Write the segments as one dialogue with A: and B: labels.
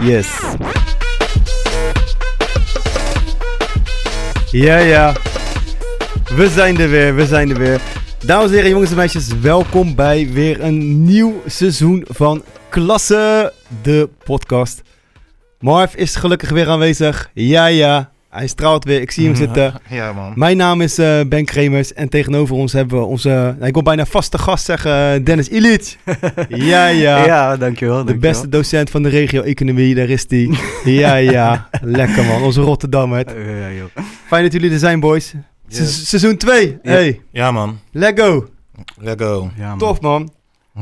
A: Yes. Ja, ja. We zijn er weer, we zijn er weer. Dames en heren, jongens en meisjes, welkom bij weer een nieuw seizoen van Klasse, de podcast. Marv is gelukkig weer aanwezig. Ja, ja. Hij straalt weer, ik zie hem zitten.
B: Ja, man.
A: Mijn naam is eh, Ben Kremers en tegenover ons hebben we onze, nou, ik wil bijna vaste gast zeggen, Dennis Illich. Ja, ja.
C: Ja, dankjewel.
A: De beste docent van de regio economie, daar is die. Ja, ja. Lekker man, onze Rotterdammer.
C: Ja, joh.
A: Fijn dat jullie er zijn, boys. Se- Seizoen 2.
C: Ja.
A: Hey,
B: Ja, man.
A: let go.
B: Let go.
C: Ja, man.
A: Tof man.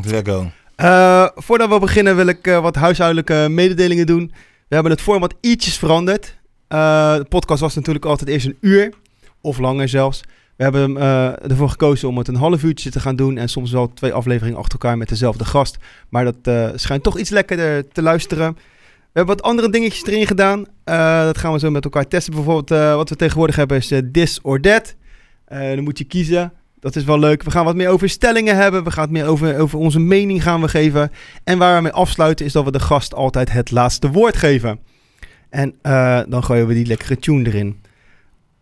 B: Let go.
A: Eh, voordat we beginnen wil ik eh, wat huishoudelijke mededelingen doen. We hebben het format ietsjes veranderd. Eh, de podcast was natuurlijk altijd eerst een uur, of langer zelfs. We hebben hem, eh, ervoor gekozen om het een half uurtje te gaan doen en soms wel twee afleveringen achter elkaar met dezelfde gast. Maar dat eh, schijnt toch iets lekkerder te luisteren. We hebben wat andere dingetjes erin gedaan. Eh, dat gaan we zo met elkaar testen. Bijvoorbeeld eh, wat we tegenwoordig hebben is eh, this or that. Eh, dan moet je kiezen. Dat is wel leuk. We gaan wat meer over stellingen hebben. We gaan het meer over, over onze mening gaan we geven. En waar we mee afsluiten is dat we de gast altijd het laatste woord geven. En eh, dan gooien we die lekkere tune erin.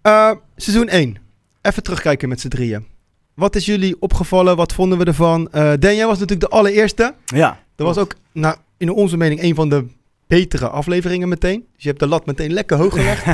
A: Eh, seizoen 1. Even terugkijken met z'n drieën. Wat is jullie opgevallen? Wat vonden we ervan? Eh Dan, jij was natuurlijk de allereerste.
C: Ja.
A: Dat was ook, nou, in onze mening, een van de betere afleveringen meteen. Dus je hebt de lat meteen lekker hoog gelegd.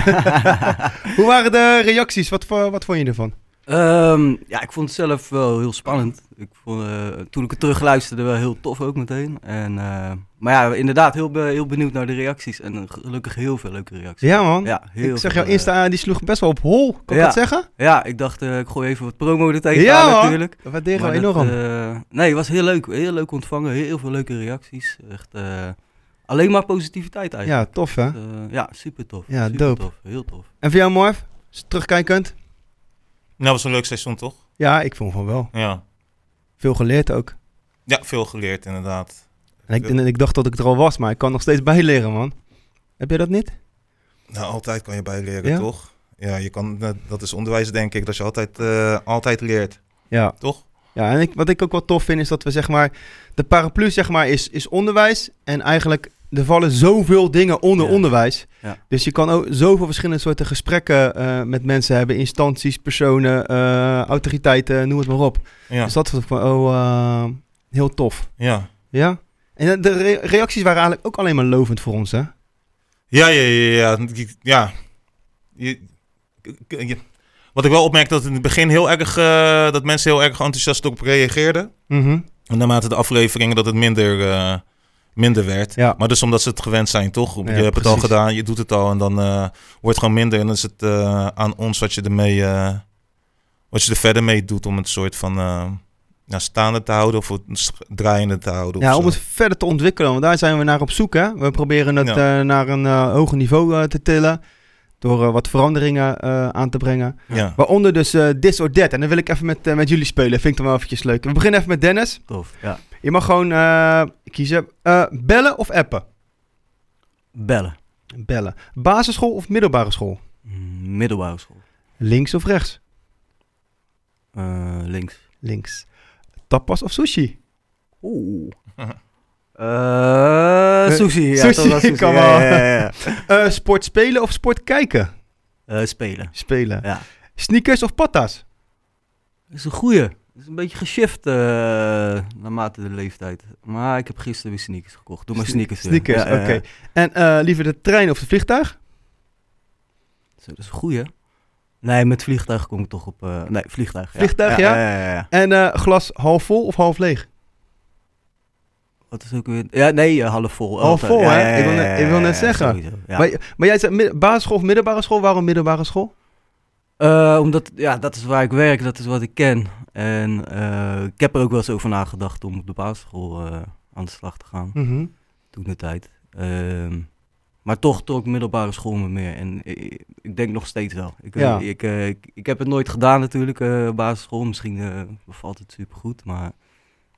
A: Hoe waren de reacties? Wat, vo- wat vond je ervan?
C: Ehm, ja, ik vond het zelf wel heel spannend. Ik vond, eh, toen ik het terugluisterde wel heel tof ook meteen. En, eh, maar ja, inderdaad, heel, be- heel benieuwd naar de reacties. En eh, gelukkig heel veel leuke reacties.
A: Ja, man.
C: Ja, heel
A: ik zag
C: veel, eh,
A: jouw Insta, die sloeg best wel op hol. Kan ik
C: Ja.
A: dat zeggen?
C: eh, ja, ik dacht, eh, ik gooi even wat promo er tegenaan
A: Ja, man.
C: natuurlijk.
A: Dat waarderen we
C: Maar
A: enorm.
C: dat, eh, nee, het was heel leuk. Heel leuk ontvangen. Heel veel leuke reacties. Echt eh, alleen maar positiviteit eigenlijk.
A: ja, tof hè.
C: Eh, ja, super tof.
A: Ja,
C: super
A: dope.
C: tof. Heel tof.
A: En voor jou, Marv? S- Terugkijkend?
B: Nou, was een leuk seizoen, toch?
A: Ja, ik vond van wel.
B: Ja.
A: Veel geleerd ook.
B: Ja, veel geleerd, inderdaad.
A: En ik, en ik dacht dat ik er al was, maar ik kan nog steeds bijleren, man. Heb jij dat niet?
B: Nou, altijd kan je bijleren,
A: Ja?
B: toch? Ja, je kan, dat- dat is onderwijs, denk ik, dat je altijd, eh, altijd leert,
A: Ja.
B: toch?
A: Ja, en ik, wat ik ook wel tof vind, is dat we zeg maar... De paraplu zeg maar is, is onderwijs. En eigenlijk, er vallen zoveel dingen onder
C: Ja.
A: onderwijs.
C: Ja.
A: Dus je kan ook zoveel verschillende soorten gesprekken eh, met mensen hebben. Instanties, personen, eh, autoriteiten, noem het maar op.
B: Ja.
A: Dus dat vond ik van, oh, eh, heel tof.
B: Ja.
A: Ja. En de re- reacties waren eigenlijk ook alleen maar lovend voor ons, hè?
B: Ja, ja, ja, ja. Je- ja. Je- k- k- je- wat ik wel opmerkte, dat in het begin heel erg, eh, dat mensen heel erg enthousiast op reageerden. En naarmate de afleveringen dat het minder, eh, minder werd.
A: Ja.
B: Maar dus omdat ze het gewend zijn, toch? Je
A: Ja,
B: hebt het al
A: precies.
B: gedaan, je doet het al en dan eh, wordt het gewoon minder. En dan is het eh, aan ons wat je ermee, eh, wat je er verder mee doet om het soort van eh, ja, staande te houden of het s- draaiende te houden.
A: Ja,
B: of
A: om
B: zo.
A: het verder te ontwikkelen, want daar zijn we naar op zoek, hè? We proberen het
B: Ja.
A: eh, naar een eh, hoger niveau eh, te tillen. Door eh, wat veranderingen eh, aan te brengen.
B: ja.
A: Waaronder dus eh This or That. En dan wil ik even met, eh, met jullie spelen. Vind ik dan wel eventjes leuk. We beginnen even met Dennis.
C: Tof. Ja.
A: Je mag gewoon eh, kiezen. eh, bellen of appen?
C: Bellen.
A: Bellen. Basisschool of middelbare school?
C: Mm, Middelbare school.
A: Links of rechts?
C: Eh, links.
A: Links. Tapas of sushi?
C: Oeh. Eh sushi.
A: Sushi,
C: Ja, toch wel sushi.
A: come
C: Ja,
A: on.
C: ja, ja, ja.
A: Eh, sport spelen of sport kijken?
C: Eh, spelen.
A: Spelen.
C: Ja.
A: Sneakers of patas?
C: Dat is een goeie. Dat is een beetje geshift eh, naarmate de leeftijd. Maar ik heb gisteren weer sneakers gekocht. Doe maar sneakers. weer.
A: Sneakers,
C: Ja, ja, ja.
A: oké. En eh, liever de trein of het vliegtuig?
C: Zo, Dat is een goeie. Nee, met vliegtuig kom ik toch op... eh, nee, vliegtuig.
A: Vliegtuig, ja?
C: Ja, ja, ja, ja.
A: En eh, glas half vol of half leeg?
C: Wat is ook weer... Ja, nee, eh, half vol.
A: Half
C: Altijd.
A: vol,
C: Ja,
A: hè?
C: ja, ja,
A: Ik wil net-
C: ja,
A: ik wil net
C: ja, ja,
A: zeggen.
C: sowieso. Ja.
A: Maar, maar jij zei mid- basisschool of middelbare school? Waarom middelbare school?
C: Eh, omdat, ja, dat is waar ik werk, dat is wat ik ken. En eh, ik heb er ook wel eens over nagedacht om op de basisschool eh, aan de slag te gaan, toen de tijd. Ehm, maar toch trok middelbare school me meer. En ik, ik denk nog steeds wel. Ik, weet-
A: Ja.
C: ik, eh, ik, ik heb het nooit gedaan natuurlijk, eh, basisschool. Misschien eh, bevalt het supergoed, maar...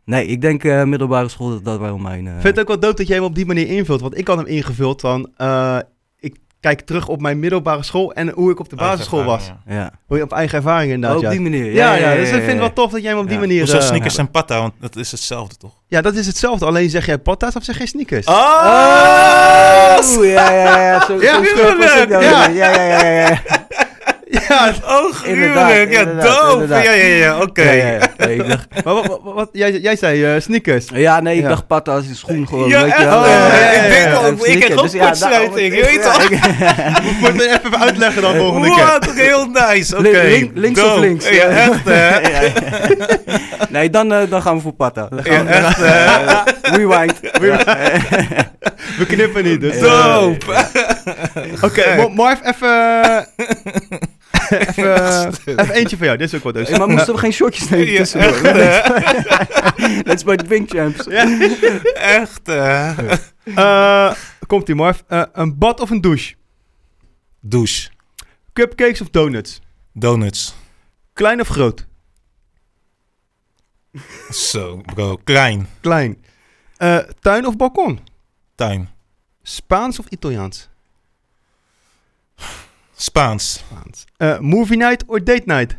C: Nee, ik denk eh, middelbare school, dat, dat wel mijn... eh,
A: Ik vind het ook wel dope dat jij hem op die manier invult. Want ik had hem ingevuld van... eh, ik kijk terug op mijn middelbare school en hoe ik op de basisschool was.
C: Ja.
A: Hoe je op eigen ervaring
C: Oh,
A: inderdaad.
C: op die
A: ja.
C: manier.
A: ja, ja, dus ik vind het wel
C: ja.
A: tof dat jij hem op die
C: Ja.
A: manier...
B: Hoezo
A: eh,
B: sneakers en patta? Want dat is hetzelfde toch?
A: Ja, dat is hetzelfde. Alleen zeg jij patta's of zeg jij sneakers?
C: Ah.
B: Ah,
C: Oh, ja, ja, ja. Zo,
A: Ja,
C: zo scherp was ik nou
A: ja.
C: weer. ja, ja, ja, ja, ja.
A: Ja,
B: Oh,
C: Inderdaad,
B: gruwelijk. Ja,
C: inderdaad,
B: doof. Ja,
C: inderdaad.
B: ja,
A: eh,
B: ja, oké.
C: Ja, ja, ja. Nee, ik dacht,
A: maar wat, wat, wat- jij, jij zei eh, sneakers.
C: ja, nee, ik
A: Ja.
C: dacht patta als een schoen gewoon.
B: Ja,
C: weet
B: echt?
C: je wel.
A: Oh, ja, ja, ja,
C: en
A: ik denk
B: al,
C: en
B: ik
C: sneakers.
B: heb ook kortsluiting, je weet toch?
C: ik-
A: Moet je even uitleggen dan volgende keer.
B: Wat heel nice. Oké.
C: Link- link- links of
B: Doof.
C: links?
B: Ja,
A: Eh,
B: echt hè.
C: Ja, ja. Nee, dan, eh, dan gaan we voor patta. Dan gaan
B: Ja,
C: we-
B: echt hè.
C: Rewind.
A: We knippen niet, dus...
C: Ja.
B: Doop.
A: Oké, Mo- Marv, even... eh, even, even eentje van jou. Dit is ook wat dus.
C: Hey, Eh, maar moesten we geen shortjes nemen
B: Ja,
C: tussendoor?
B: echt, hè?
C: Let's buy drink champs.
A: Ja.
B: Echt hè.
A: Eh, komt ie, Marv. Eh, een bad of een douche?
B: Douche.
A: Cupcakes of donuts?
B: Donuts.
A: Klein of groot?
B: Zo, bro. Klein.
A: Klein. Eh, tuin of balkon?
B: Tuin.
A: Spaans of Italiaans?
B: Spaans.
A: Spaans. Eh, movie night or date night?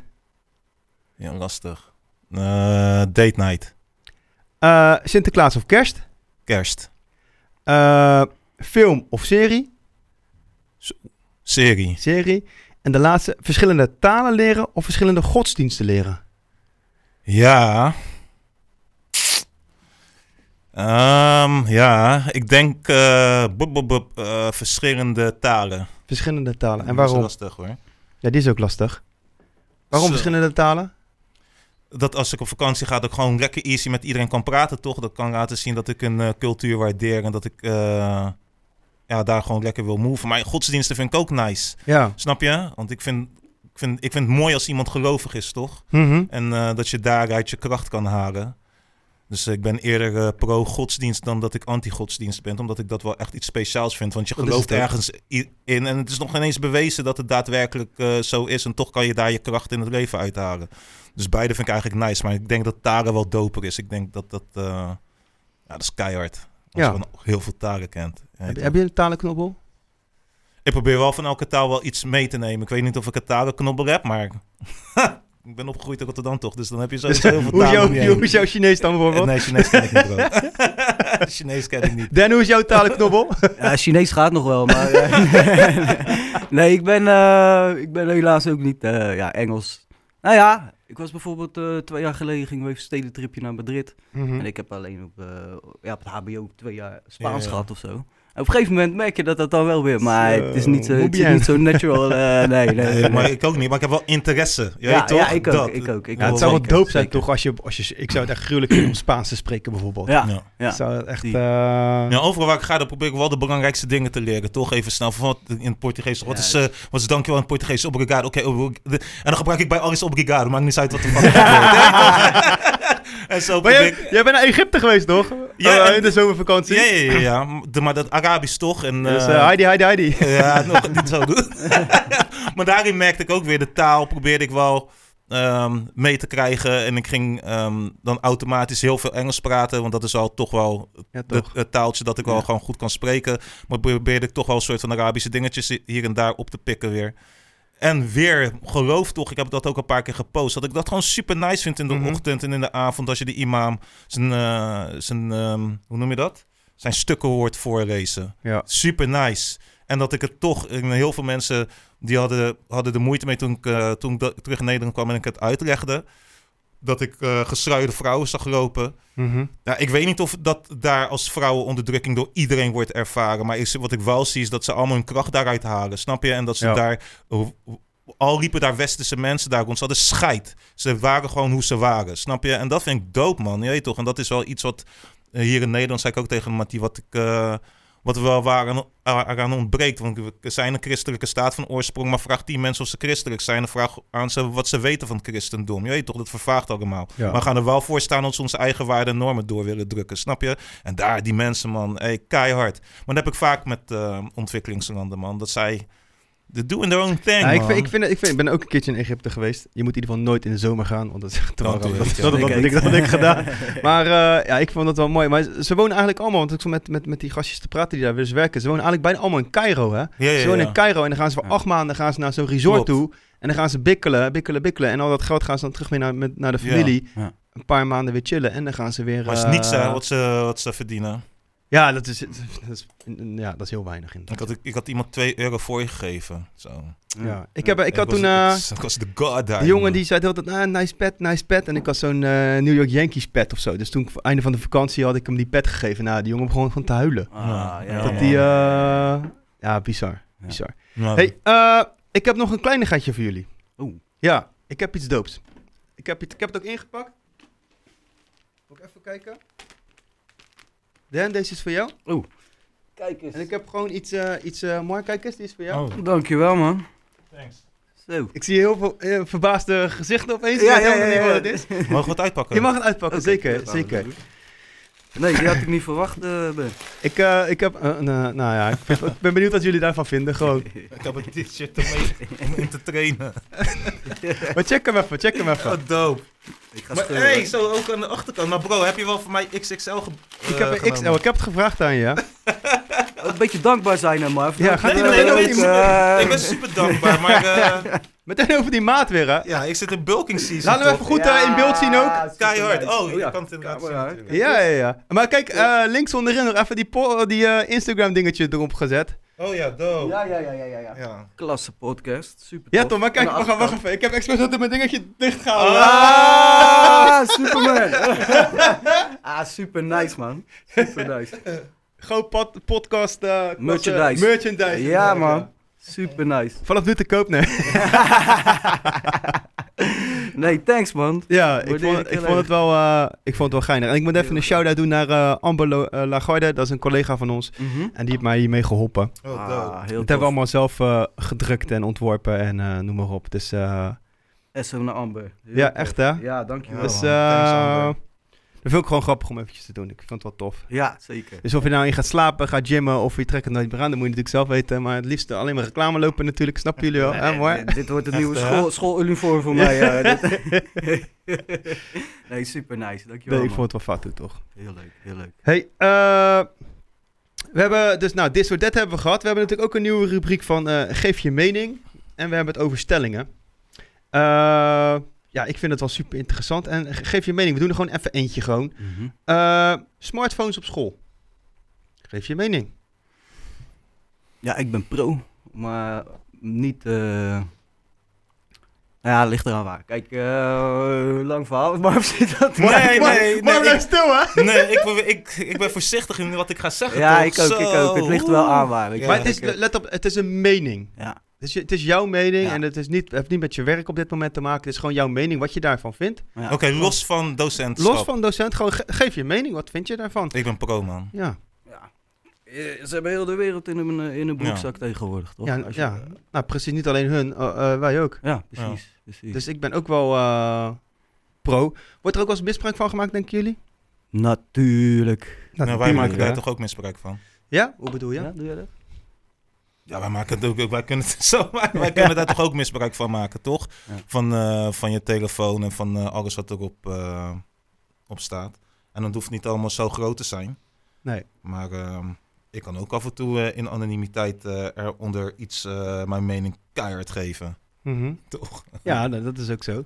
B: Ja, lastig. Eh, date night.
A: Eh, Sinterklaas of kerst?
B: Kerst.
A: Eh, film of serie?
B: Serie.
A: Serie. En de laatste, verschillende talen leren of verschillende godsdiensten leren?
B: Ja. Ehm, ja, ik denk eh, boep, boep, boep, eh, verschillende talen.
A: Verschillende talen. En
B: Dat is
A: waarom?
B: lastig hoor.
A: Ja, die is ook lastig. Waarom
B: Zo.
A: verschillende talen?
B: Dat als ik op vakantie ga, dat ik gewoon lekker easy met iedereen kan praten, toch? Dat kan laten zien dat ik een eh, cultuur waardeer en dat ik eh, ja, daar gewoon lekker wil move. Maar godsdiensten vind ik ook nice.
A: Ja.
B: Snap je? Want ik vind, ik vind, ik vind het mooi als iemand gelovig is, toch?
A: Mhm.
B: En eh, dat je daaruit je kracht kan halen. Dus eh, ik ben eerder eh, pro-godsdienst dan dat ik anti-godsdienst ben. Omdat ik dat wel echt iets speciaals vind. Want je
A: Dat is
B: gelooft
A: het ook.
B: ergens i- in. En het is nog geen eens bewezen dat het daadwerkelijk eh, zo is. En toch kan je daar je kracht in het leven uithalen. Dus beide vind ik eigenlijk nice. Maar ik denk dat Taren wel doper is. Ik denk dat dat... eh, ja, dat is keihard. Als
A: Ja.
B: je gewoon heel veel talen kent. Ja,
A: Heb,
B: toch?
A: heb je een talenknobbel?
B: Ik probeer wel van elke taal wel iets mee te nemen. Ik weet niet of ik een talenknobbel heb, maar... ik ben opgegroeid in Rotterdam toch, dus dan heb je zo heel veel
A: hoe, is
B: talen.
A: jouw,
B: om je heen. Eh,
A: hoe is jouw Chinees dan bijvoorbeeld?
B: Nee, Chinees ken ik niet, bro. Chinees ken ik niet.
A: Dan, hoe is jouw talenknobbel?
C: Ja, Chinees gaat nog wel, maar... eh, nee, ik ben, eh, ik ben helaas ook niet eh, ja, Engels. Nou ja, ik was bijvoorbeeld eh, twee jaar geleden, gingen we even een stedentripje naar Madrid.
A: Hm? Mhm.
C: En ik heb alleen op, eh, ja, op het HBO twee jaar Spaans
B: Ja.
C: gehad of zo. En op een gegeven moment merk je dat dat dan wel weer, maar
A: Zo,
C: het is niet zo,
A: muy
C: het is
A: bien.
C: niet zo natural. eh, nee, nee, nee,
B: Nee, maar
C: nee.
B: ik ook niet, maar ik heb wel interesse. Je
C: Ja,
B: weet toch?
C: ja, ik ook,
B: Dat.
C: ik ook, ik
A: Ja, het
C: Oh,
A: zou wel
C: zeker,
A: doop zijn
C: zeker.
A: toch als je, als je... Ik zou het echt gruwelijk vinden om Spaans te spreken bijvoorbeeld.
C: Ja,
B: Ja.
A: Ik
C: ja.
A: zou het echt...
C: Die-
A: eh,
B: Ja, overal waar ik ga, dan probeer ik wel de belangrijkste dingen te leren. Toch even snel. Van wat in het Portugees. Wat is, eh wat is dankjewel in het Portugees? Obrigado. Oké, obrig- de- en dan gebruik ik bij alles obrigado. Maakt niet uit wat er van En zo
A: Maar
B: probeer ik...
A: jij, jij bent naar Egypte geweest, toch?
B: Ja,
A: Oh,
B: en-
A: in de zomervakantie.
B: Ja, ja, ja. ja. De- maar dat Arabisch toch? En,
A: Dus
B: eh,
A: eh, Heidi, Heidi, Heidi.
B: Ja, nog niet zo doen. maar daarin merkte ik ook weer de taal. Probeerde ik wel ehm, mee te krijgen. En ik ging ehm, dan automatisch heel veel Engels praten. Want dat is al toch wel
A: Ja,
B: het,
A: toch.
B: het taaltje dat ik wel
C: Ja.
B: gewoon goed kan spreken. Maar probeerde ik toch wel een soort van Arabische dingetjes hier en daar op te pikken weer. En weer, geloof toch, ik heb dat ook een paar keer gepost. Dat ik dat gewoon super nice vind in de
A: Mhm.
B: ochtend en in de avond. Als je de imam zijn, eh, zijn ehm, hoe noem je dat? Zijn stukken hoort voorlezen
A: Ja.
B: super nice. En dat ik het toch, ik weet, heel veel mensen die hadden, hadden de moeite mee toen ik, eh, toen ik da- terug in Nederland kwam en ik het uitlegde. Dat ik eh gestruide vrouwen zag lopen.
A: Mhm.
B: Nou, ik weet niet of dat daar als vrouwenonderdrukking door iedereen wordt ervaren. Maar is, wat ik wel zie is dat ze allemaal hun kracht daaruit halen. Snap je? En dat ze
A: Ja.
B: daar, ho- ho- al riepen daar westerse mensen daar rond. Ze hadden scheid. Ze waren gewoon hoe ze waren. Snap je? En dat vind ik dope, man. Je weet toch? En dat is wel iets wat eh, hier in Nederland, zei ik ook tegen Mattie, wat ik... eh, wat er wel waaraan, eraan ontbreekt. Want we zijn een christelijke staat van oorsprong. Maar vraag tien mensen of ze christelijk zijn. En vraag aan ze wat ze weten van het christendom. Je weet toch, dat vervaagt allemaal.
A: Ja.
B: Maar we gaan er wel voor staan dat ze onze eigen waarden en normen door willen drukken. Snap je? En daar, die mensen, man. Hey, keihard. Maar dat heb ik vaak met eh, ontwikkelingslanden, man. Dat zij They're doing their own thing,
A: Ja, ik, vind,
B: man.
A: ik, vind, ik, vind, ik ben ook een keertje in Egypte geweest. Je moet in ieder geval nooit in de zomer gaan, want dat is echt te warm.
B: Dat doe
A: Dat,
B: je
A: dat,
B: niet,
A: dat,
B: ja.
A: dat, had ik, dat had ik gedaan. Maar eh, ja, ik vond dat wel mooi. Maar ze ze wonen eigenlijk allemaal, want ik zat met, met, met die gastjes te praten die daar dus werken. Ze wonen eigenlijk bijna allemaal in Cairo, hè?
B: Ja, ja,
A: Ze wonen
B: ja.
A: in Cairo en dan gaan ze voor
C: Ja.
A: acht maanden gaan ze naar zo'n resort
B: Klopt.
A: toe. En dan gaan ze bikkelen, bikkelen, bikkelen. En al dat geld gaan ze dan terug weer naar, met, naar de
B: Ja.
A: familie.
C: Ja.
A: Een paar maanden weer chillen en dan gaan ze weer...
B: Maar het
A: eh,
B: is niks eh, wat, ze, wat ze verdienen.
A: Ja, dat is, dat is, ja, dat is heel weinig
B: Ik
A: inderdaad.
B: had, ik had iemand 2 euro voor je gegeven. Zo.
A: Ja. Ik, heb, ik had
B: was-
A: toen... eh,
B: Ik was de god daar.
A: Die jongen
B: man.
A: die zei de hele tijd, ah, nice pet, nice pet. En ik had zo'n eh, New York Yankees pet of zo. Dus toen, einde van de vakantie, had ik hem die pet gegeven. Nou, die jongen begon gewoon te huilen.
C: Ah,
B: Ja,
C: ja,
A: dat
B: man.
A: die, eh, ja, bizar,
C: Ja. Oh.
A: bizar.
B: Nou,
A: hey, eh, ik heb nog een kleinigheidje voor jullie.
C: Oeh.
A: Ja, ik heb iets doops. Ik heb, iets- ik heb het ook ingepakt. Moet ik even kijken. Dan, deze is voor jou.
C: Kijk
A: En
C: eens.
A: ik heb gewoon iets, eh iets eh mooi. Kijk eens, die is voor jou.
B: oh,
C: Dankjewel, man.
B: thanks.
C: Zo.
A: Ik zie heel veel eh, verbaasde gezichten opeens.
C: Ja,
A: Ik weet
C: ja,
A: helemaal
C: ja,
A: niet
C: ja.
A: wat het is.
B: Mogen we het uitpakken?
A: Je mag het uitpakken,
C: Oké,
A: zeker,
C: dat gaan we
A: zeker.
C: doen. Nee, die had ik niet verwacht, eh, Ben.
A: Ik, eh, ik heb, eh, nou, nou ja, ik, vind- ik ben benieuwd wat jullie daarvan vinden, gewoon.
B: Ik heb een t-shirt ermee om in te trainen.
A: Maar check hem even, check hem even.
B: Oh, dope.
C: Ik ga
B: Maar
C: scheuren.
B: hey, zo ook aan de achterkant. Maar bro, heb je wel voor mij XXL ge eh,
A: Ik heb een XL, ik heb het gevraagd aan je. hè.
C: Ook Een beetje dankbaar zijn aan Marv.
A: Ja, gaat
B: Nee,
A: die
B: nee,
A: nog
B: nee,
A: ook
B: nee,
A: iets-
B: ik ben-
C: Eh,
B: ik ben super dankbaar, maar eh,
A: Meteen over die maat weer, hè.
B: ja, ik zit in bulking season.
A: Laten we even
B: toch?
A: goed eh, in beeld zien ook.
B: Keihard. Oh,
C: ja.
B: je kan het inderdaad zien.
C: Camera.
B: natuurlijk.
A: Ja, ja, ja. Maar kijk, eh, links onderin nog even die, po- die eh, Instagram dingetje erop gezet.
B: Oh ja, dope.
C: Ja, ja, ja, ja, ja, ja.
B: Ja.
C: Klasse podcast. Super.
A: Ja
C: tof.
A: toch, maar kijk,
C: Aan de
A: wacht, wacht
C: achterkant.
A: even. Ik heb expres altijd mijn dingetje dichtgehouden.
C: Ah, Superman. ah, super nice, man. Super nice.
A: Gewoon pod- podcast... eh, klasse-
C: Merchandise.
A: Merchandise.
C: Ja, man. Super nice.
A: Vanaf nu te koop, nee.
C: Nee, thanks, man.
A: Ja, ik
C: Waardeer
A: vond,
C: ik
A: het- ik,
C: heel
A: vond het
C: erg.
A: wel, eh, ik vond het wel geinig. En ik moet
C: Heel
A: even een
C: erg.
A: shout-out doen naar eh Amber Lo- eh, Lagarde. Dat is een collega van ons.
C: Mhm.
A: En die heeft mij hiermee geholpen. Dat
B: Oh, dope.
C: Ah, heel
A: hebben we
C: tof.
A: allemaal zelf eh, gedrukt en ontworpen en eh, noem maar op. Dus eh,
C: SO naar Amber. Heel
A: ja,
C: tof.
A: echt hè.
C: Ja, dankjewel.
B: Ja,
A: dus
B: man.
A: eh,
B: Thanks, Amber.
A: dat vind ik gewoon grappig om eventjes te doen. Ik vond het wel tof.
C: Ja, zeker.
A: Dus of je nou in gaat slapen, gaat gymmen of je trekt het nooit meer aan, dat moet je natuurlijk zelf weten. Maar het liefst alleen maar reclame lopen natuurlijk, snappen jullie wel.
C: Nee,
A: hè, mooi?
C: nee, Dit wordt het nieuwe
B: hè?
C: school, schooluniform voor mij. eh, dit. nee, super nice. Dankjewel.
A: Nee, ik
C: man.
A: vond het wel fatu toch.
C: Heel leuk, heel leuk.
A: Hey, eh, we hebben dus, nou, dit soort dat hebben we gehad. We hebben natuurlijk ook een nieuwe rubriek van eh, geef je mening. En we hebben het over stellingen. Eh, ja, ik vind het wel super interessant. En ge- geef je mening. We doen er gewoon even eentje gewoon. Eh, smartphones op school. Geef je mening.
C: Ja, ik ben pro, maar niet. eh, nou Ja, ligt eraan waar. Kijk, eh, lang verhaal, maar of zit dat?
B: Nee, nee,
A: maar,
B: nee.
A: Maar blijf
B: ik-
A: stil, hè?
B: Nee, ik, probeer- ik, ik ben voorzichtig in wat ik ga zeggen.
C: ja,
B: toch?
C: ik ook, ik
B: Zo.
C: ook. Het ligt er wel aan waar. weet je
A: Maar
C: wel.
A: het is,
C: Ik, eh,
A: let op, het is een mening.
C: Ja.
A: Het is, je- het is jouw mening
C: Ja.
A: en het is niet, heeft niet met je werk op dit moment te maken. Het is gewoon jouw mening, wat je daarvan vindt.
C: ja.
B: Oké, los van docent.
A: Los van docent, gewoon ge- geef je mening. Wat vind je daarvan?
B: Ik ben pro, man.
A: Ja,
C: Ja. Eh, Ze hebben heel de wereld in hun, eh, in hun broekzak tegenwoordig, toch?
A: ja,
C: Als je- eh,
A: ja. nou precies, niet alleen hun, eh, eh, wij ook.
C: Ja, precies. precies.
A: Dus ik ben ook wel eh, pro. Wordt er ook wel eens misbruik van gemaakt, denken jullie?
C: Natuurlijk.
A: Nou,
B: Nou, wij
A: natuurlijk,
B: maken daar
A: hè.
B: toch ook misbruik van.
A: Ja? Hoe bedoel je?
C: Ja, doe jij dat?
B: Ja, wij maken het ook. Wij kunnen, het zo, wij wij kunnen daar toch ook misbruik van maken, toch?
C: Ja.
B: Van, eh, van je telefoon en van eh, alles wat erop eh, op staat. En dat hoeft niet allemaal zo groot te zijn.
A: Nee.
B: Maar ehm, ik kan ook af en toe eh, in anonimiteit eh, eronder iets, eh, mijn mening, keihard geven.
A: Mhm.
B: Toch?
A: Ja, nou, dat is ook zo.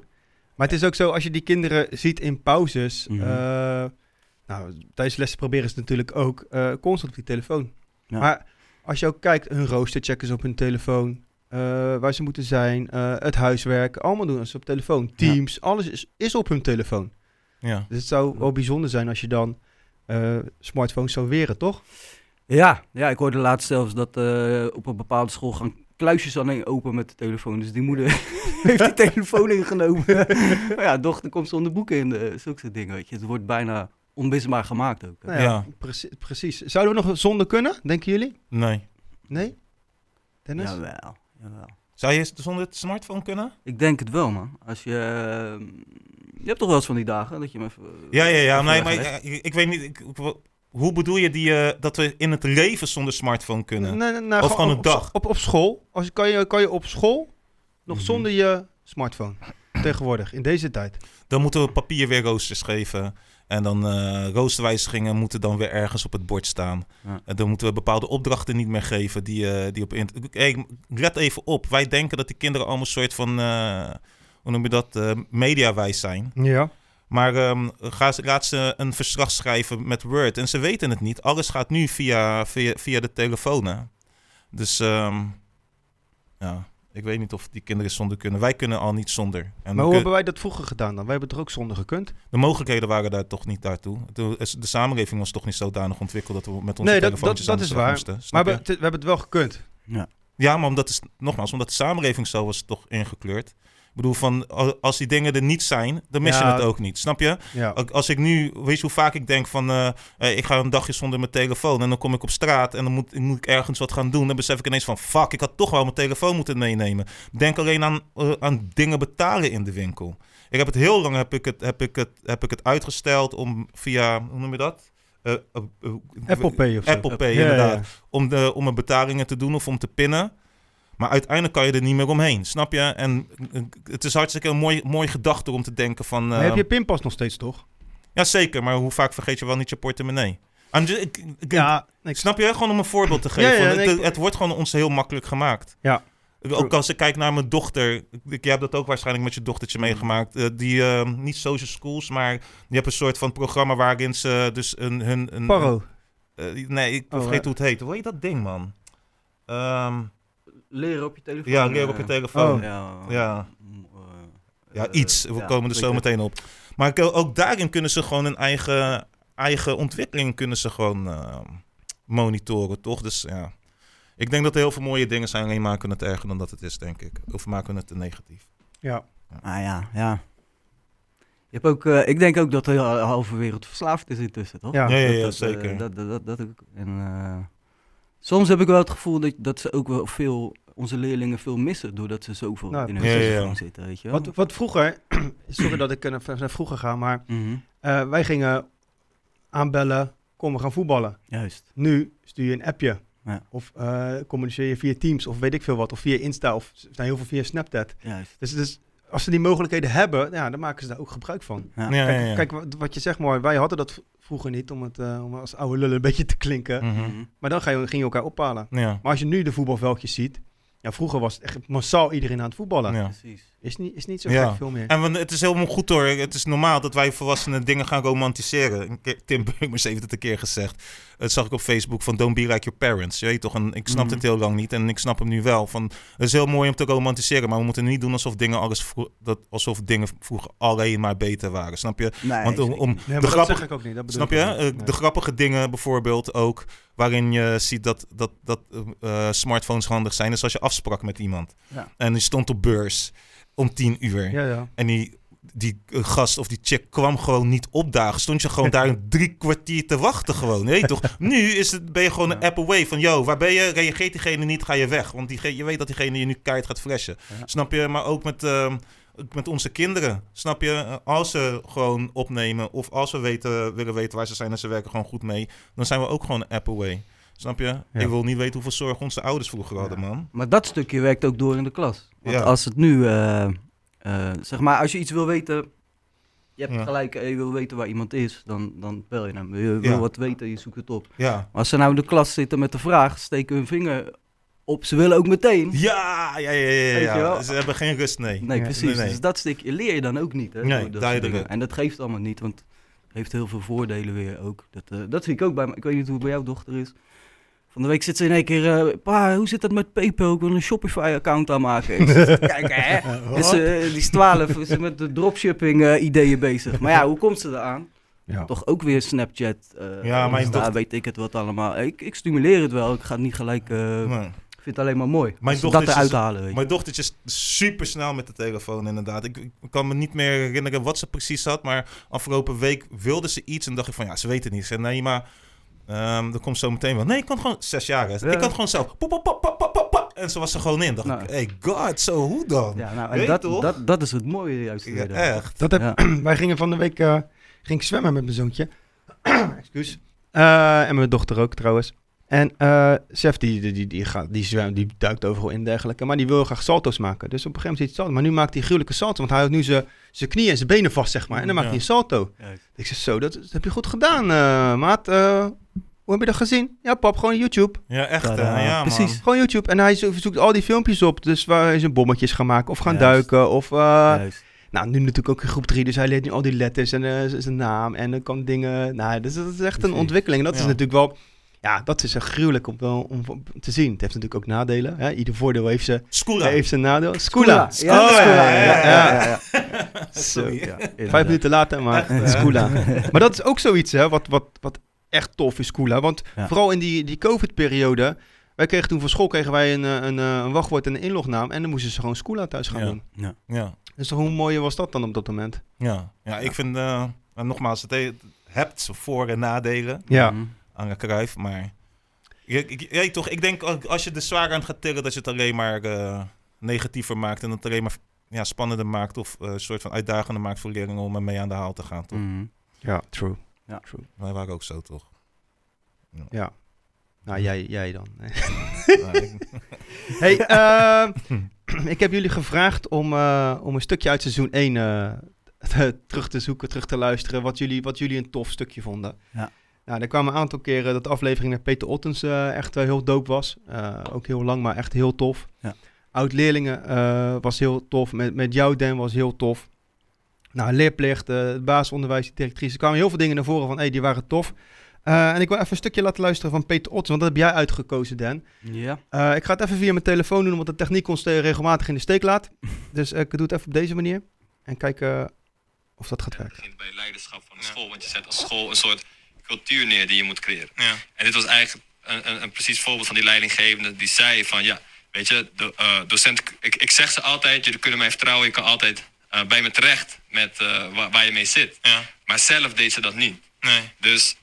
A: Maar het is ook zo, als je die kinderen ziet in pauzes...
C: Mhm.
A: eh, nou, tijdens lessen proberen ze natuurlijk ook eh, constant op die telefoon.
C: Ja.
A: Maar als je ook kijkt, hun rooster checken ze op hun telefoon... eh, waar ze moeten zijn, eh, het huiswerk, allemaal doen ze op telefoon. Teams, alles is, is op hun telefoon.
B: Ja.
A: Dus het zou wel bijzonder zijn als je dan eh, smartphones zou weren, toch?
C: Ja, ja, ik hoorde laatst zelfs dat eh, op een bepaalde school gaan kluisjes alleen open met de telefoon. Dus die moeder heeft die telefoon ingenomen. maar ja, dochter komt zonder boeken in, eh, zulke soort dingen, weet je. Het wordt bijna onmisbaar gemaakt ook. hè.
A: Nou ja,
B: Ja.
A: precie- precies. Zouden we nog zonder kunnen, denken jullie?
B: Nee.
A: Nee? Dennis?
C: jawel, jawel.
B: Zou je zonder het smartphone kunnen?
C: Ik denk het wel, man. Als je... eh, je hebt toch wel eens van die dagen dat je hem even... eh,
B: Ja, ja, ja.
C: even
B: Nee, maar
C: weglegt?
B: ik, ik weet niet ik, ik- hoe bedoel je die, eh, dat we in het leven zonder smartphone kunnen?
A: Nee, nee, nee,
B: Of gewoon een
A: op,
B: dag.
A: Op, op school. Als, je- kan, je, kan je op school nog
B: Mhm.
A: zonder je smartphone. Tegenwoordig, in deze tijd.
B: Dan moeten we papier weer roosters geven. En dan eh roosterwijzigingen moeten dan weer ergens op het bord staan.
C: Ja.
B: En dan moeten we bepaalde opdrachten niet meer geven die, eh, die op internet... Hey, let even op. Wij denken dat die kinderen allemaal een soort van... eh, hoe noem je dat? eh, mediawijs zijn.
A: Ja.
B: Maar ehm, ga, ze- laat ze een verslag schrijven met Word. En ze weten het niet. Alles gaat nu via, via, via de telefoon. Hè? Dus ehm, ja, ik weet niet of die kinderen zonder kunnen. Wij kunnen al niet zonder. En
A: Maar
B: we
A: hoe
B: kun-
A: hebben wij dat vroeger gedaan dan? Wij hebben het er ook zonder gekund.
B: de mogelijkheden waren daar toch niet daartoe. De, de samenleving was toch niet zodanig ontwikkeld dat we met onze
A: Nee, dat-
B: telefoontjes
A: dat-
B: aan de
A: dat
B: slag
A: is
B: moesten.
A: Maar
B: Snap
A: we,
B: je?
A: hebben het- we hebben het wel gekund.
B: Ja, maar omdat is, nogmaals, omdat de samenleving zo was toch ingekleurd. Ik bedoel, van, al- als die dingen er niet zijn, dan mis je
A: Ja.
B: het ook niet. Snap je?
A: Ja.
B: Ook Als ik nu, weet je hoe vaak ik denk van, eh, eh, ik ga een dagje zonder mijn telefoon. En dan kom ik op straat en dan moet, moet ik ergens wat gaan doen. Dan besef ik ineens van, fuck, ik had toch wel mijn telefoon moeten meenemen. Denk alleen aan, eh, aan dingen betalen in de winkel. Ik heb het heel lang heb ik het, heb ik het, heb ik het uitgesteld om via, hoe noem je dat? Eh, eh, eh,
A: Apple Pay of zo.
B: Apple Pay,
A: Ja, ja,
B: inderdaad.
A: ja.
B: Om, de, om mijn betalingen te doen of om te pinnen. Maar uiteindelijk kan je er niet meer omheen, snap je? En eh, het is hartstikke een mooi, mooi gedachte om te denken van...
A: Maar
B: eh,
A: heb je pinpas nog steeds, toch?
B: ja, zeker. Maar hoe vaak vergeet je wel niet je portemonnee? I'm ju- ik, ik-
A: Ja. Ik,
B: Snap je? Gewoon om een voorbeeld te geven.
A: Ja, ja,
B: want
A: nee,
B: het,
A: ik-
B: het wordt gewoon ons heel makkelijk gemaakt.
A: Ja.
B: Ook als ik kijk naar mijn dochter. Ik, jij hebt dat ook waarschijnlijk met je
A: Mm.
B: dochtertje meegemaakt. eh, die, eh, niet social schools, maar die hebben een soort van programma waarin ze dus een... hun een,
A: Paro.
B: eh, nee, ik
A: Oh,
B: vergeet
A: eh.
B: hoe het heet. Hoe heet dat ding, man? Ehm,
C: Leren op je telefoon. eh.
B: ja, leer op je telefoon.
A: Oh.
C: Ja. eh,
B: Ja. Ja, iets. We komen er zo meteen op. Maar ik- ook daarin kunnen ze gewoon hun eigen, eigen ontwikkeling kunnen ze gewoon eh, monitoren, toch? Dus ja, ik denk dat er heel veel mooie dingen zijn. Alleen maken het erger dan dat het is, denk ik. Of maken het te negatief.
A: Ja.
C: Ah ja, ja. Je hebt ook, eh, ik denk ook dat de hel- halve wereld verslaafd is intussen, toch?
A: Ja.
B: Ja, ja,
C: Dat-
B: ja,
C: dat, eh,
B: zeker.
C: dat, dat, dat, dat ook. En, eh, soms heb ik wel het gevoel dat, dat ze ook wel veel, onze leerlingen veel missen, doordat ze zoveel
A: Nou,
C: in hun
B: Ja, ja, ja.
C: telefoon zitten, weet je wel.
A: Wat, wat vroeger, sorry dat ik er naar naar vroeger ga, maar
C: Mhm,
A: eh, wij gingen aanbellen, kom we gaan voetballen.
C: Juist.
A: Nu stuur je een appje.
C: Ja.
A: Of eh, communiceer je via Teams of weet ik veel wat. Of via Insta of er zijn heel veel via Snapchat.
C: Juist.
A: Dus, dus als ze die mogelijkheden hebben, nou ja, dan maken ze daar ook gebruik van.
C: Ja.
B: Ja, ja,
A: Kijk,
B: ja.
A: kijk wat- wat je zegt, mooi. Wij hadden dat v- vroeger niet, om, het, eh, om als oude lullen een beetje te klinken.
B: Mhm.
C: Mhm.
A: Maar dan ga je, ging je elkaar ophalen.
B: Ja,
A: Maar als je nu de voetbalveldjes ziet, ja, vroeger was het echt massaal iedereen aan het voetballen.
B: ja.
C: Precies.
A: Is, niet, is niet zo
B: Ja.
A: gek veel meer.
B: En want het is helemaal goed hoor. Het is normaal dat wij volwassenen dingen gaan romantiseren. Een keer- Tim Burgers heeft het een keer gezegd. Dat zag ik op Facebook van Don't be like your parents. Je weet toch? En ik snapte
C: Mhm.
B: het heel lang niet en ik snap hem nu wel. Van, het is heel mooi om te romantiseren, maar we moeten niet doen alsof dingen, alles vro- dat, alsof dingen vroeger alleen maar beter waren. Snap je?
C: Nee,
B: Want om-
C: zeker
B: om-
C: niet.
A: Nee, maar
B: de
A: dat
B: grappig-
A: zeg ik ook niet. Dat bedoel
B: Snap
A: ik
B: je?
A: ook niet.
B: Eh,
A: Nee.
B: De grappige dingen bijvoorbeeld ook, waarin je ziet dat, dat, dat eh, eh, smartphones handig zijn, is als je afsprak met iemand.
C: Ja.
B: En die stond op beurs om tien uur.
A: Ja, ja.
B: En die, die eh, gast of die chick kwam gewoon niet opdagen. Stond je gewoon daar een drie kwartier te wachten gewoon. Nee toch? Nu is het, ben je gewoon een
C: Ja.
B: app away van... Yo, waar ben je? Reageert diegene niet, ga je weg. Want die, je weet dat diegene je nu keihard gaat flashen.
C: Ja.
B: Snap je? Maar ook met, ehm, ook met onze kinderen. Snap je? Eh, Als ze gewoon opnemen of als we weten, willen weten waar ze zijn... en ze werken gewoon goed mee, dan zijn we ook gewoon een app away. Snap je? Ik wil niet weten hoeveel zorg onze ouders vroeger hadden, man.
C: Maar dat stukje werkt ook door in de klas. Want
B: Ja.
C: als het nu, eh, eh, zeg maar, als je iets wil weten, je hebt
B: Ja.
C: gelijk, eh, je wil weten waar iemand is, dan, dan bel je hem. Je wil
B: Ja.
C: wat weten, je zoekt het op.
B: Ja.
C: Als ze nou in de klas zitten met de vraag, steken hun vinger op, ze willen ook meteen.
B: Ja, ja, ja, ja.
C: Weet je
B: ja.
C: wel?
B: Ze hebben geen rust, nee.
C: Nee,
A: Ja.
C: precies.
B: eh, Nee, nee.
C: Dus dat stukje leer je dan ook niet. Hè,
B: Nee,
C: door dat soort
B: duidelijk.
C: dingen. En dat geeft allemaal niet, want het heeft heel veel voordelen weer ook. Dat, eh, dat zie ik ook bij me. Ik weet niet hoe het bij jouw dochter is. Van de week zit ze in één keer, eh, pa, hoe zit dat met PayPal? Ik wil een Shopify-account aanmaken. Ik zit te kijken, hè? Dus eh, die is 12, is met de dropshipping eh, ideeën bezig. Maar ja, hoe komt ze eraan?
A: Ja.
C: Toch ook weer Snapchat. eh,
B: Ja, mijn
C: Insta,
B: dochter-
C: weet ik het wat allemaal. Ik, ik stimuleer het wel. Ik ga het niet gelijk. eh,
B: Nee.
C: Ik vind het alleen maar mooi.
B: Mijn
C: Als ze
B: dochter
C: dat
B: is
C: eruit
B: dus-
C: halen. Weet je.
B: Mijn dochtertje is super snel met de telefoon, inderdaad. Ik, ik kan me niet meer herinneren wat ze precies had, maar afgelopen week wilde ze iets en dacht ik van ja, ze weet het niet. Ze zei nee, maar ehm dat komt zo meteen wel. Nee, ik kan gewoon zes jaar. hè.
C: Ja.
B: Ik kan gewoon zelf. Pop, pop, pop, pop, pop, pop, pop. en ze was er gewoon in. Dacht
C: Nou.
B: ik, hey god, zo hoe dan? Ja,
C: Ja, nou,
B: Weet
C: en dat,
B: toch?
C: dat, dat is het mooie juist. weer dan.
B: echt.
A: Dat heb,
C: Ja.
A: Wij gingen van de week eh, ging ik zwemmen met mijn zoontje. Excuus. Eh, Eh, en mijn dochter ook trouwens. En eh Chef, die, die, die, die, gaat, die, zwemt, die duikt overal in en dergelijke. Maar die wil graag salto's maken. Dus op een gegeven moment ziet hij salto. Maar nu maakt hij gruwelijke salto. Want hij houdt nu zijn- zijn knieën en zijn benen vast, zeg maar. En dan maakt
B: Ja.
A: hij een salto.
C: Kijk.
A: Ik zeg, zo, dat, dat heb je goed gedaan, eh, maat. Eh, hoe heb je dat gezien? Ja, pap, gewoon YouTube.
B: Ja, echt. hè.
C: Tadaa.
B: ja,
C: Precies.
B: Man.
A: Gewoon YouTube. En hij zo- zoekt al die filmpjes op. Dus waar hij zijn bommetjes gaan maken. Of gaan
C: Juist.
A: duiken. Of, eh,
C: Juist.
A: nou, nu natuurlijk ook in groep 3. Dus hij leert nu al die letters en eh, z- zijn naam. En dan kan dingen... Nou, dus dat is echt een
C: Precies.
A: ontwikkeling. En dat is
B: Ja.
A: natuurlijk wel... Ja, dat is echt gruwelijk om, wel- om te zien. Het heeft natuurlijk ook nadelen. Hè? Ieder voordeel heeft zijn,
B: Skoola.
A: heeft zijn nadeel. Scula.
B: Scula.
A: Oh,
B: Scula,
A: ja,
B: ja,
A: ja, ja.
C: ja.
A: Zo. Vijf
C: inderdaad.
A: minuten later, maar
B: Echt, hè?
A: Scula. maar dat is ook zoiets hè, wat, wat, wat echt tof is, Scula. Want
C: Ja.
A: vooral in die, die COVID-periode... Wij kregen toen van school kregen wij een, eh, een, eh, een wachtwoord en een inlognaam. En dan moesten ze gewoon Scula thuis gaan
B: Ja.
A: doen.
B: Ja.
A: Dus hoe mooi was dat dan op dat moment?
B: Ja. ja, ik vind, eh, en nogmaals, het he- hebt zijn voor- en nadelen
A: Ja.
C: Mhm.
B: aan Cruijff, maar... Ik, ik, ja, toch, ik denk ook als je er zwaar aan gaat tillen, dat je het alleen maar eh, negatiever maakt en het alleen maar ja, spannender maakt of eh, een soort van uitdagender maakt voor leerlingen om ermee aan de haal te gaan. Toch?
C: Mhm.
A: Ja, true.
B: Wij waren ook zo, toch?
A: Nou, jij, jij dan.
B: Ja, ik-
A: Hey, eh, ik heb jullie gevraagd om, eh, om een stukje uit seizoen 1 eh, terug te zoeken, terug te luisteren. Wat jullie, wat jullie een tof stukje vonden.
C: Ja.
A: Nou, er kwamen een aantal keren dat de aflevering met Peter Ottens eh, echt eh, heel doop was. Eh, ook heel lang, maar echt heel tof.
C: Ja.
A: Oud-leerlingen eh, was heel tof. Met, met jou, Dan, was heel tof. Nou, leerplicht, eh, het basisonderwijs, de directrice. Er kwamen heel veel dingen naar voren van, hey, die waren tof. Eh, en ik wil even een stukje laten luisteren van Peter Ottens, want dat heb jij uitgekozen, Dan.
C: Ja.
A: Eh, ik ga het even via mijn telefoon doen, want de techniek ons eh, regelmatig in de steek laat. Dus eh, ik doe het even op deze manier. En kijken of dat gaat werken.
D: begint bij leiderschap van de
E: Ja.
D: school. Want je zet als school een soort cultuur neer die je moet creëren.
E: Ja.
D: En dit was eigenlijk een, een, een precies voorbeeld van die leidinggevende die zei van ja, weet je, de, eh, docent, ik, ik zeg ze altijd, jullie kunnen mij vertrouwen, je kan altijd eh, bij me terecht met eh, wa- waar, je mee zit.
E: Ja.
D: Maar zelf deed ze dat niet.
E: Nee.
D: Dus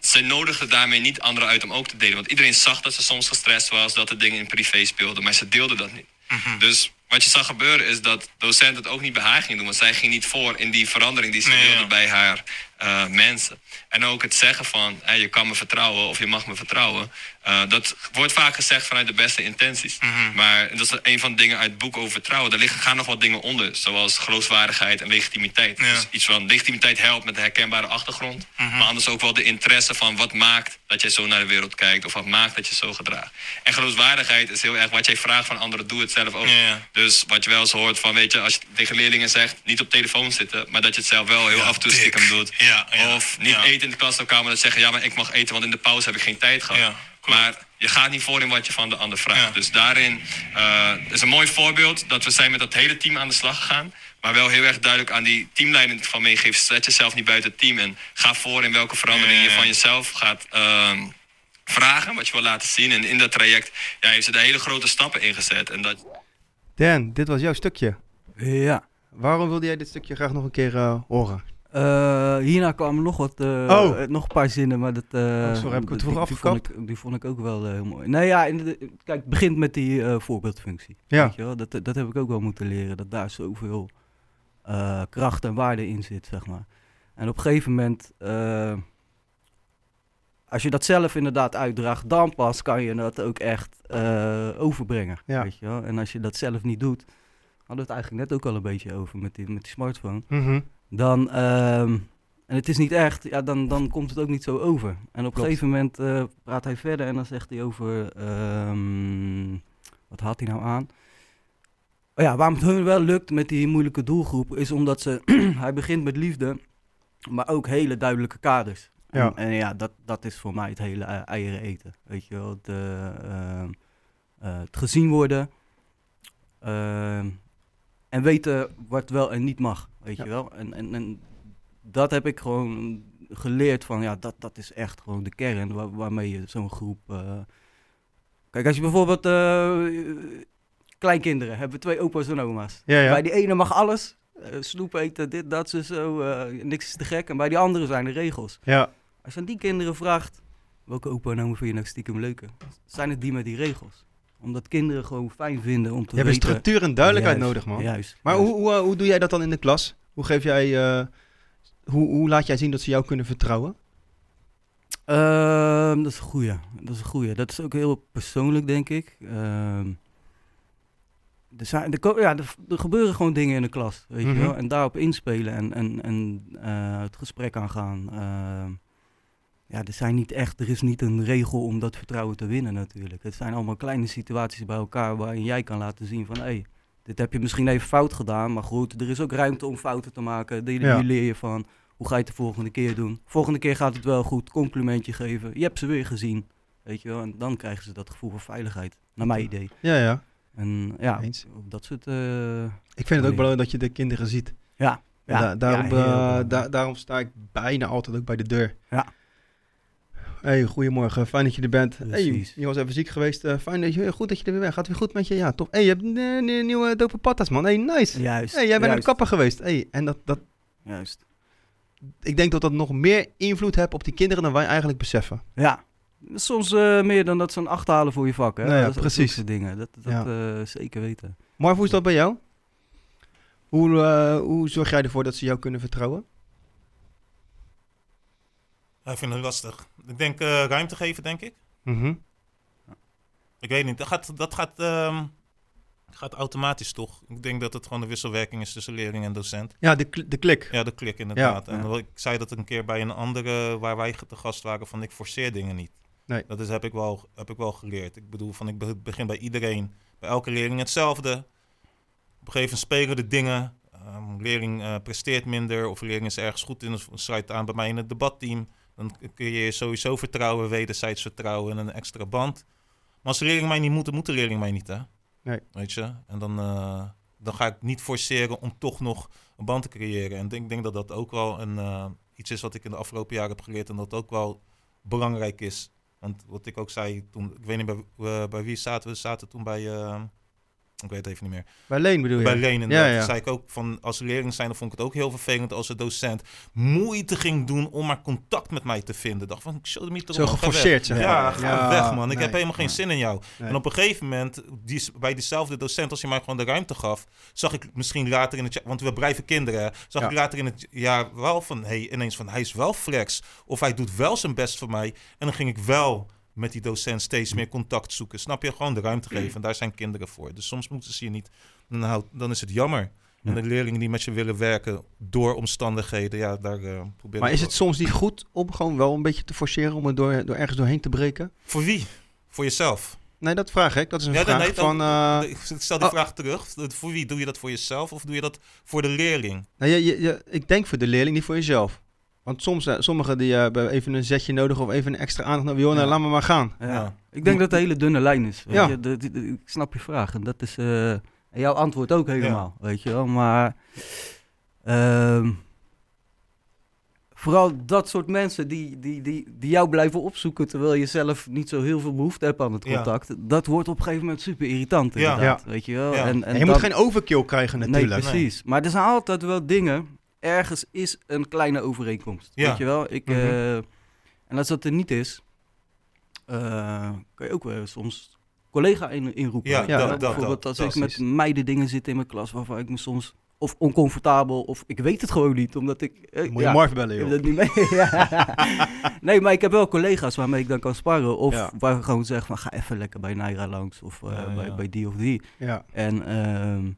D: ze nodigde daarmee niet anderen uit om ook te delen. Want iedereen zag dat ze soms gestrest was, dat er dingen in privé speelden, maar ze deelde dat niet.
E: Mhm.
D: Dus wat je zag gebeuren is dat docenten het ook niet bij haar ging doen. Want zij ging niet voor in die verandering die ze
E: Nee,
D: wilde
E: ja.
D: bij haar eh, mensen. En ook het zeggen van, hè, je kan me vertrouwen of je mag me vertrouwen. eh, dat wordt vaak gezegd vanuit de beste intenties.
E: Mhm.
D: Maar dat is een van de dingen uit het boek over vertrouwen. Daar liggen, gaan nog wat dingen onder, zoals geloofwaardigheid en legitimiteit.
E: Ja. Mhm.
D: Dus iets van legitimiteit helpt met een herkenbare achtergrond. Maar anders ook wel de interesse van wat maakt dat jij zo naar de wereld kijkt. Of wat maakt dat je zo gedraagt. En geloofwaardigheid is heel erg wat jij vraagt van anderen, doe het zelf ook.
E: Ja, ja.
D: Dus wat je wel eens hoort van, weet je, als je tegen leerlingen zegt, niet op telefoon zitten. Maar dat je het zelf wel heel
E: Ja,
D: af en toe
E: dik.
D: stiekem doet.
E: Ja, ja,
D: of niet
E: ja.
D: eten in de klaslokaal, maar dat zeggen, ja maar ik mag eten, want in de pauze heb ik geen tijd gehad.
E: Ja, klopt.
D: maar je gaat niet voor in wat je van de ander vraagt.
E: Ja.
D: Dus dus daarin eh, is een mooi voorbeeld dat we zijn met dat hele team aan de slag gegaan. Maar wel heel erg duidelijk aan die teamleiding van meegeven. Dus Zet jezelf niet buiten het team en ga voor in welke verandering je
E: Ja.
D: van jezelf gaat ehm, vragen. Wat je wil laten zien. En in dat traject ja, heeft ze daar hele grote stappen in gezet. En dat,
A: Dan, dit was jouw stukje.
C: Ja.
A: Waarom wilde jij dit stukje graag nog een keer eh, horen?
C: Eh, hierna kwamen nog wat, eh,
A: Oh.
C: eh, nog een paar zinnen, maar dat... eh,
A: sorry, heb ik het vroeg
C: die- die vond
A: afgekapt?
C: ik- Die vond ik ook wel eh, heel mooi. Nou ja, in de- kijk, het begint met die eh, voorbeeldfunctie.
A: Ja.
C: Weet je wel? Dat, dat heb ik ook wel moeten leren, dat daar zoveel eh, kracht en waarde in zit, zeg maar. En op een gegeven moment, eh, als je dat zelf inderdaad uitdraagt, dan pas kan je dat ook echt eh, overbrengen,
A: Ja.
C: weet je wel. En als je dat zelf niet doet, hadden we het eigenlijk net ook al een beetje over met die, met die smartphone dan, ehm, en het is niet echt, ja, dan, dan komt het ook niet zo over. En op een
A: Klopt.
C: gegeven moment eh, praat hij verder en dan zegt hij over, ehm, wat haalt hij nou aan? Oh ja, waarom het hun wel lukt met die moeilijke doelgroep is omdat ze, hij begint met liefde, maar ook hele duidelijke kaders.
A: Ja.
C: En, en ja, dat, dat is voor mij het hele eh, eieren eten. Weet je wel, het, eh, ehm, eh, het gezien worden. ehm, en weten wat wel en niet mag, weet
A: Ja.
C: je wel. En, en, en dat heb ik gewoon geleerd van, ja, dat, dat is echt gewoon de kern waar- waarmee je zo'n groep... eh, Kijk, als je bijvoorbeeld... eh, kleinkinderen, hebben we twee opa's en oma's.
A: Ja, ja.
C: Bij die ene mag alles. eh, snoep eten, dit, dat, zo, zo. eh, niks is te gek. En bij die andere zijn de regels.
A: Ja,
C: Als je aan die kinderen vraagt, welke opa en oma vind je nou stiekem leuker? Zijn het die met die regels? Omdat kinderen gewoon fijn vinden om te
A: je hebt een
C: weten...
A: structuur en duidelijkheid
C: Juist,
A: nodig, man.
C: Juist.
A: Maar
C: juist.
A: hoe, hoe, eh, hoe doe jij dat dan in de klas? Hoe geef jij... eh, hoe, hoe laat jij zien dat ze jou kunnen vertrouwen?
C: Eh, Ehm, dat is een goeie. Dat is een goeie. Dat is ook heel persoonlijk, denk ik. Ehm, er, zijn, er, ko- ja, er, er gebeuren gewoon dingen in de klas, weet
A: Mhm.
C: je wel. En daarop inspelen en, en, en eh, het gesprek aangaan. Ehm, ja, er, zijn niet echt, er is niet een regel om dat vertrouwen te winnen natuurlijk. Het zijn allemaal kleine situaties bij elkaar waarin jij kan laten zien van... Hey, dit heb je misschien even fout gedaan, maar goed, er is ook ruimte om fouten te maken. Daar
A: Ja.
C: hier leer je van. Hoe ga je het de volgende keer doen? Volgende keer gaat het wel goed. Complimentje geven. Je hebt ze weer gezien. Weet je wel? En dan krijgen ze dat gevoel van veiligheid. Naar mijn idee.
A: Ja, ja.
C: En ja,
A: Eens.
C: op dat soort... eh,
A: Ik vind het ook
C: Alleen.
A: belangrijk dat je de kinderen ziet.
C: ja.
A: En
C: ja,
A: da- daarom,
C: ja,
A: eh,
C: heel belangrijk.
A: da- daarom sta ik bijna altijd ook bij de deur.
C: Ja.
A: Hey, goedemorgen. Fijn dat je er bent. Hey,
C: Precies.
A: je was even ziek geweest. Eh, fijn dat je, goed dat je er weer bent. Gaat weer goed met je? Ja, top. Hey, je hebt eh, nieuwe- nieuwe dope patas, man. Hey, nice.
C: Juist.
A: hey, jij bent naar de
C: juist,
A: kapper geweest. Hey, en dat, dat,
C: Juist.
A: ik denk dat dat nog meer invloed heeft op die kinderen dan wij eigenlijk beseffen.
C: Ja. Soms eh, meer dan dat ze een acht halen voor je vak. Hè?
A: Nou ja,
C: Dat is ook
A: precies.
C: zulke dingen. Dat, dat eh, zeker weten.
A: Marv, hoe is dat bij jou? Hoe, eh, hoe zorg jij ervoor dat ze jou kunnen vertrouwen?
B: Ja, ik vind het lastig. Ik denk eh, ruimte geven, denk ik.
A: Mhm.
B: Ik weet niet, dat gaat, dat gaat, ehm, gaat automatisch toch? Ik denk dat het gewoon een wisselwerking is tussen leerling en docent.
A: Ja, de, kl- de klik.
B: Ja, de klik inderdaad. en
C: ja.
B: wat- ik zei dat een keer bij een andere waar wij te gast waren van ik forceer dingen niet.
A: Nee.
B: Dat is, heb, ik wel, heb ik wel geleerd. Ik bedoel, van ik be- begin bij iedereen, bij elke leerling hetzelfde. Op een gegeven moment spelen de dingen. Ehm, leerling eh, presteert minder of leerling is ergens goed in, of sluit aan bij mij in het debatteam. Dan kun je sowieso vertrouwen, wederzijds vertrouwen en een extra band. Maar als de leerling mij niet moet, dan moet de leerling mij niet, hè?
A: Nee.
B: Weet je? En dan, eh, dan ga ik niet forceren om toch nog een band te creëren. En ik denk, denk dat dat ook wel een, eh, iets is wat ik in de afgelopen jaren heb geleerd. En dat ook wel belangrijk is. Want wat ik ook zei toen, ik weet niet bij, eh, bij wie zaten we, zaten toen bij, eh, ik weet het even niet meer.
A: Bij Leen bedoel je?
B: Bij Leen inderdaad.
A: Ja, ja.
B: Toen zei ik ook van als leerling zijn, dan vond ik het ook heel vervelend als een docent moeite ging doen om maar contact met mij te vinden. Dacht van, show me toch
A: Zo
B: op, ga weg.
A: geforceerd, zeg
B: Ja,
A: maar.
B: ga
A: Ja,
B: weg man. Ik
A: nee,
B: heb helemaal geen
A: nee.
B: zin in jou.
A: Nee.
B: En op een gegeven moment, die, bij diezelfde docent, als je mij gewoon de ruimte gaf, zag ik misschien later in het jaar, want we blijven kinderen, hè, zag
A: Ja.
B: ik later in het jaar wel van, hey, ineens van, hij is wel flex. Of hij doet wel zijn best voor mij. En dan ging ik wel met die docent steeds meer contact zoeken. Snap je? Gewoon de ruimte geven. En daar zijn kinderen voor. Dus soms moeten ze je niet. Dan, houdt, dan is het jammer. En de leerlingen die met je willen werken door omstandigheden, ja, daar eh probeer
A: Maar
B: ik
A: is
B: wel-
A: het soms niet goed om gewoon wel een beetje te forceren om er door, door ergens doorheen te breken?
B: Voor wie? Voor jezelf.
A: Nee, dat vraag ik. Dat is een
B: Ja,
A: vraag
B: dan- nee, dan-
A: van... eh,
B: Ik stel die
A: oh.
B: vraag terug. Voor wie? Doe je dat voor jezelf of doe je dat voor de leerling?
A: nou, je, je, je- ik denk voor de leerling, niet voor jezelf. Want soms, eh, sommigen die eh, hebben even een zetje nodig of even een extra aandacht nodig. Joh, nou,
C: Ja.
A: laat me maar gaan.
C: Ja.
B: Ja.
C: Ik denk dat het een hele dunne lijn is. Weet
A: Ja.
C: je? Dat- dat- ik snap je vraag. En dat is eh, en jouw antwoord ook helemaal, weet je wel. Maar ehm, vooral dat soort mensen die, die, die, die jou blijven opzoeken... terwijl je zelf niet zo heel veel behoefte hebt aan het
B: Ja.
C: contact... dat wordt op een gegeven moment super irritant
B: Ja.
C: inderdaad, weet je wel.
B: Ja.
A: En, je moet
C: dan-
A: geen overkill krijgen natuurlijk.
C: Nee, precies. Maar er zijn altijd wel dingen. Ergens is een kleine overeenkomst.
B: Ja.
C: Weet je wel? Ik,
A: Mhm.
C: eh, en als dat er niet is, eh, kan je ook wel soms collega in, inroepen.
B: Ja,
C: weet je
A: dat-
C: wel?
B: dat-
C: Bijvoorbeeld
B: dat-
C: als ik met
A: precies.
C: meiden dingen zit in mijn klas waarvan ik me soms of oncomfortabel of ik weet het gewoon niet, omdat ik... eh,
A: Moet je
C: ja,
A: Marv bellen,
C: ik
A: joh.
C: heb dat niet mee. Ja. Nee, maar ik heb wel collega's waarmee ik dan kan sparren. Of
A: Ja.
C: waar ik gewoon zeg van ga even lekker bij Naira langs of eh,
B: Ja,
C: bij,
B: ja.
C: bij die of die.
A: Ja.
C: En ehm,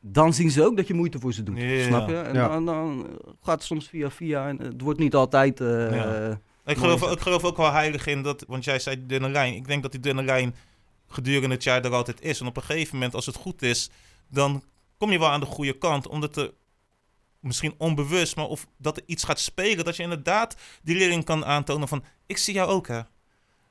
C: dan zien ze ook dat je moeite voor ze doet.
B: Ja.
C: Snap je? En
A: Ja.
C: dan, dan gaat het soms via via. En het wordt niet altijd. eh,
B: Ja. Ik
C: Mooi is
B: geloof,
C: dat.
B: ik geloof ook wel heilig in dat, want jij zei dunne lijn. Ik denk dat die dunne lijn gedurende het jaar er altijd is. En op een gegeven moment, als het goed is, dan kom je wel aan de goede kant. Omdat er misschien onbewust, maar of dat er iets gaat spelen. Dat je inderdaad die leerling kan aantonen van, ik zie jou ook hè.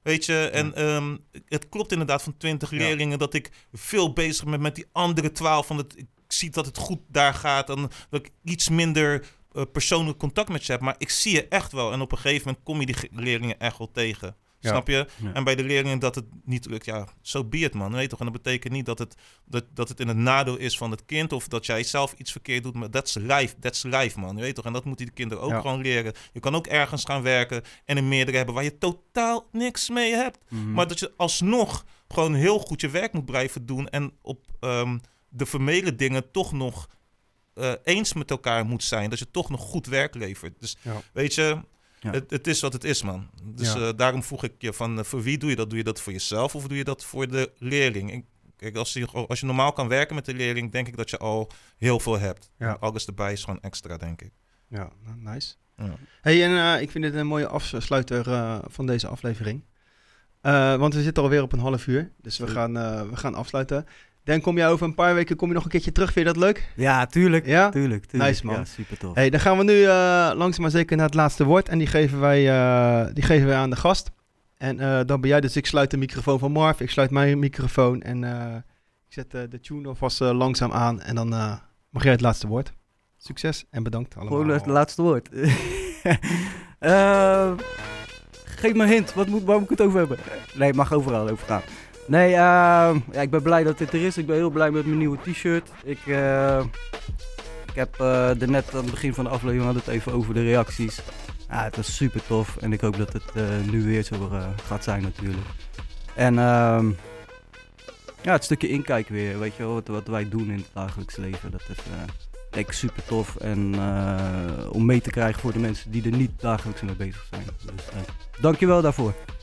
B: Weet je, en ehm, het klopt inderdaad van 20
A: Ja.
B: leerlingen dat ik veel bezig ben met die andere 12. Van het, ik zie dat het goed daar gaat. En dat ik iets minder eh, persoonlijk contact met je hebt. Maar ik zie je echt wel. En op een gegeven moment kom je die ge- leerlingen echt wel tegen.
A: Ja.
B: Snap je?
C: Ja.
B: En bij de leerlingen dat het niet lukt, ja, zo be it man. Weet je toch? En dat betekent niet dat het, dat, dat het in het nadeel is van het kind of dat jij zelf iets verkeerd doet. Maar that's life, that's life man. Weet je toch? En dat moeten die kinderen ook
A: Ja.
B: gewoon leren. Je kan ook ergens gaan werken en een meerdere hebben waar je totaal niks mee hebt.
C: mhm.
B: Maar dat je alsnog gewoon heel goed je werk moet blijven doen. En op ehm, de formele dingen toch nog eh, eens met elkaar moet zijn. Dat je toch nog goed werk levert. Dus
A: Ja.
B: weet je,
C: Ja.
B: Het, het is wat het is, man. Dus
A: Ja.
B: eh, daarom vroeg ik je van, eh, voor wie doe je dat? Doe je dat voor jezelf of doe je dat voor de leerling? Ik- kijk, als je, als je normaal kan werken met de leerling, denk ik dat je al heel veel hebt.
A: Ja.
B: En Alles erbij is gewoon extra, denk ik.
A: Ja, nou, nice.
B: Ja.
A: Hey, en eh, ik vind dit een mooie afsluiter eh, van deze aflevering. Eh, want we zitten alweer op een half uur. Dus we gaan, eh, we gaan afsluiten. Dan kom jij over een paar weken kom je nog een keertje terug. Vind je dat leuk?
C: Ja, tuurlijk.
A: Ja?
C: Tuurlijk, tuurlijk.
A: Nice, man.
C: Ja, super tof.
A: Hey, dan gaan we nu eh langzaam maar zeker naar het laatste woord. En die geven wij, eh, die geven wij aan de gast. En eh, dan ben jij. Dus ik sluit de microfoon van Marv. Ik sluit mijn microfoon. En eh, ik zet eh, de tune alvast eh, langzaam aan. En dan eh, mag jij het laatste woord. Succes en bedankt allemaal.
C: Gewoon het laatste woord. Eh, geef me een hint, wat moet, waar moet ik het over hebben? Nee, het mag overal over gaan. Nee, ehm, ja, ik ben blij dat dit er is. Ik ben heel blij met mijn nieuwe t-shirt. Ik, eh, ik heb eh er net aan het begin van de aflevering hadden we het even over de reacties. Ja, het was super tof en ik hoop dat het eh, nu weer zo eh, gaat zijn natuurlijk. En ehm, ja, het stukje inkijk weer, weet je wel, wat, wat wij doen in het dagelijks leven. Dat is, eh, denk ik super tof. En eh, om mee te krijgen voor de mensen die er niet dagelijks mee bezig zijn. Dus eh, dankjewel daarvoor.